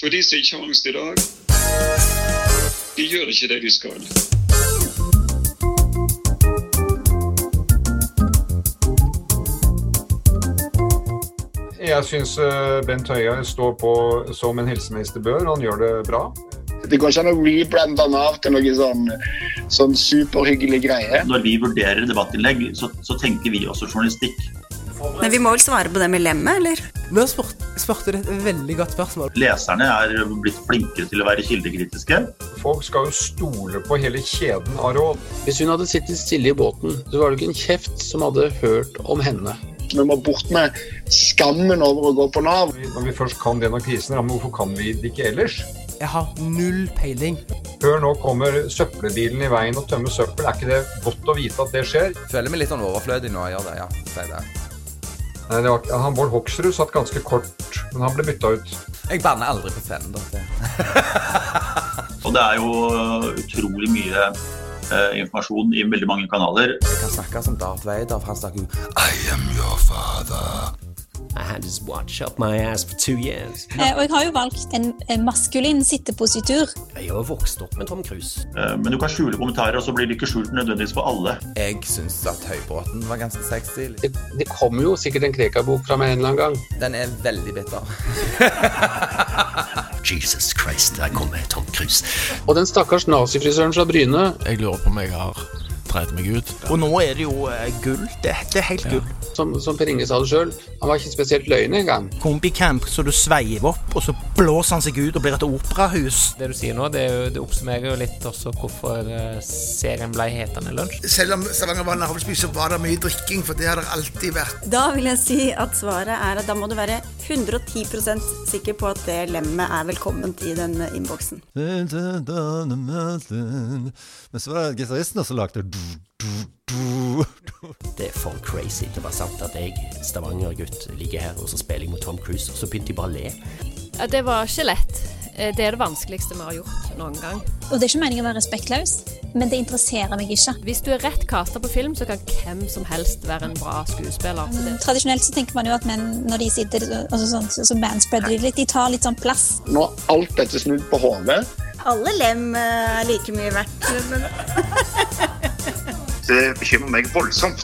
For de som ikke har angst i dag, de gjør ikke det de skal. Jeg syns Bent Høie står på som en helseminister bør. Han gjør det bra. Det går ikke an å reblande den av til noe sånn, sånn superhyggelig greie. Når vi vurderer debattinnlegg, så, så tenker vi også journalistikk. Men vi må vel svare på det med lemmet, eller? Nå spurte, spurte du et veldig godt spørsmål. Leserne er blitt flinkere til å være kildekritiske. Folk skal jo stole på hele kjeden av råd. Hvis hun hadde sittet stille i båten, så var det ikke en kjeft som hadde hørt om henne. Vi må bort med skammen over å gå på Nav. Når vi først kan det når krisen rammer, hvorfor kan vi det ikke ellers? Jeg har null peiling. Før nå kommer søppelbilen i veien og tømmer søppel. Er ikke det godt å vite at det skjer? Føler meg litt sånn overflødig når jeg gjør det, ja. Si det. Nei, det var, han Bård Hoksrud satt ganske kort, men han ble bytta ut. Jeg banner aldri på scenen, da. Og det er jo øh, utrolig mye eh, informasjon i veldig mange kanaler. Jeg kan snakke som Darth Vader, for han snakker jo I am your father. I had his watch up my ass for two years. Eh, Og jeg har jo valgt en en maskulin sittepositur. Jeg har vokst opp med Tom Cruise. Eh, men du kan skjule kommentarer, og så blir det ikke skjult nødvendigvis for alle. Jeg syns at Høybråten var ganske sexy. Det, det kom jo sikkert en Krekar-bok fra meg en eller annen gang. Den er veldig bitter. Jesus Christ, der kommer Tom Cruise. Og den stakkars nazifrisøren fra Bryne, Jeg lurer på om jeg har dreit meg ut. Og nå er det jo eh, gull. Det, det er helt gull. som, som Per Inge sa det sjøl, han var ikke spesielt løgn engang. Kombicamp, så du sveiver opp, og så blåser han seg ut og blir et operahus. Det du sier nå, det, er jo, det oppsummerer jo litt også hvorfor eh, serien ble hetende lunsj. Selv om Stavanger var en havlsby, så var det mye drikking, for det har det alltid vært. Da vil jeg si at svaret er at da må du være 110 sikker på at det lemmet er velkomment i den innboksen. Men så var det gitaristen som lagde Det er for crazy til å være sant at jeg, Stavanger-gutt, ligger her og så spiller jeg mot Tom Cruise, og så begynte de bare å le. Ja, Det var ikke lett. Eh, Det er det vanskeligste vi har gjort noen gang. Og det er ikke meningen å være respektløs, men det interesserer meg ikke. Hvis du er rett kasta på film, så kan hvem som helst være en bra skuespiller. Så det, Mm, Tradisjonelt så tenker man jo at menn når de sitter altså sånn, så, så manspreader de litt, de tar litt sånn plass. Nå er alt dette snudd på hodet. Alle lem eh, er like mye verdt. Men Det bekymrer meg voldsomt.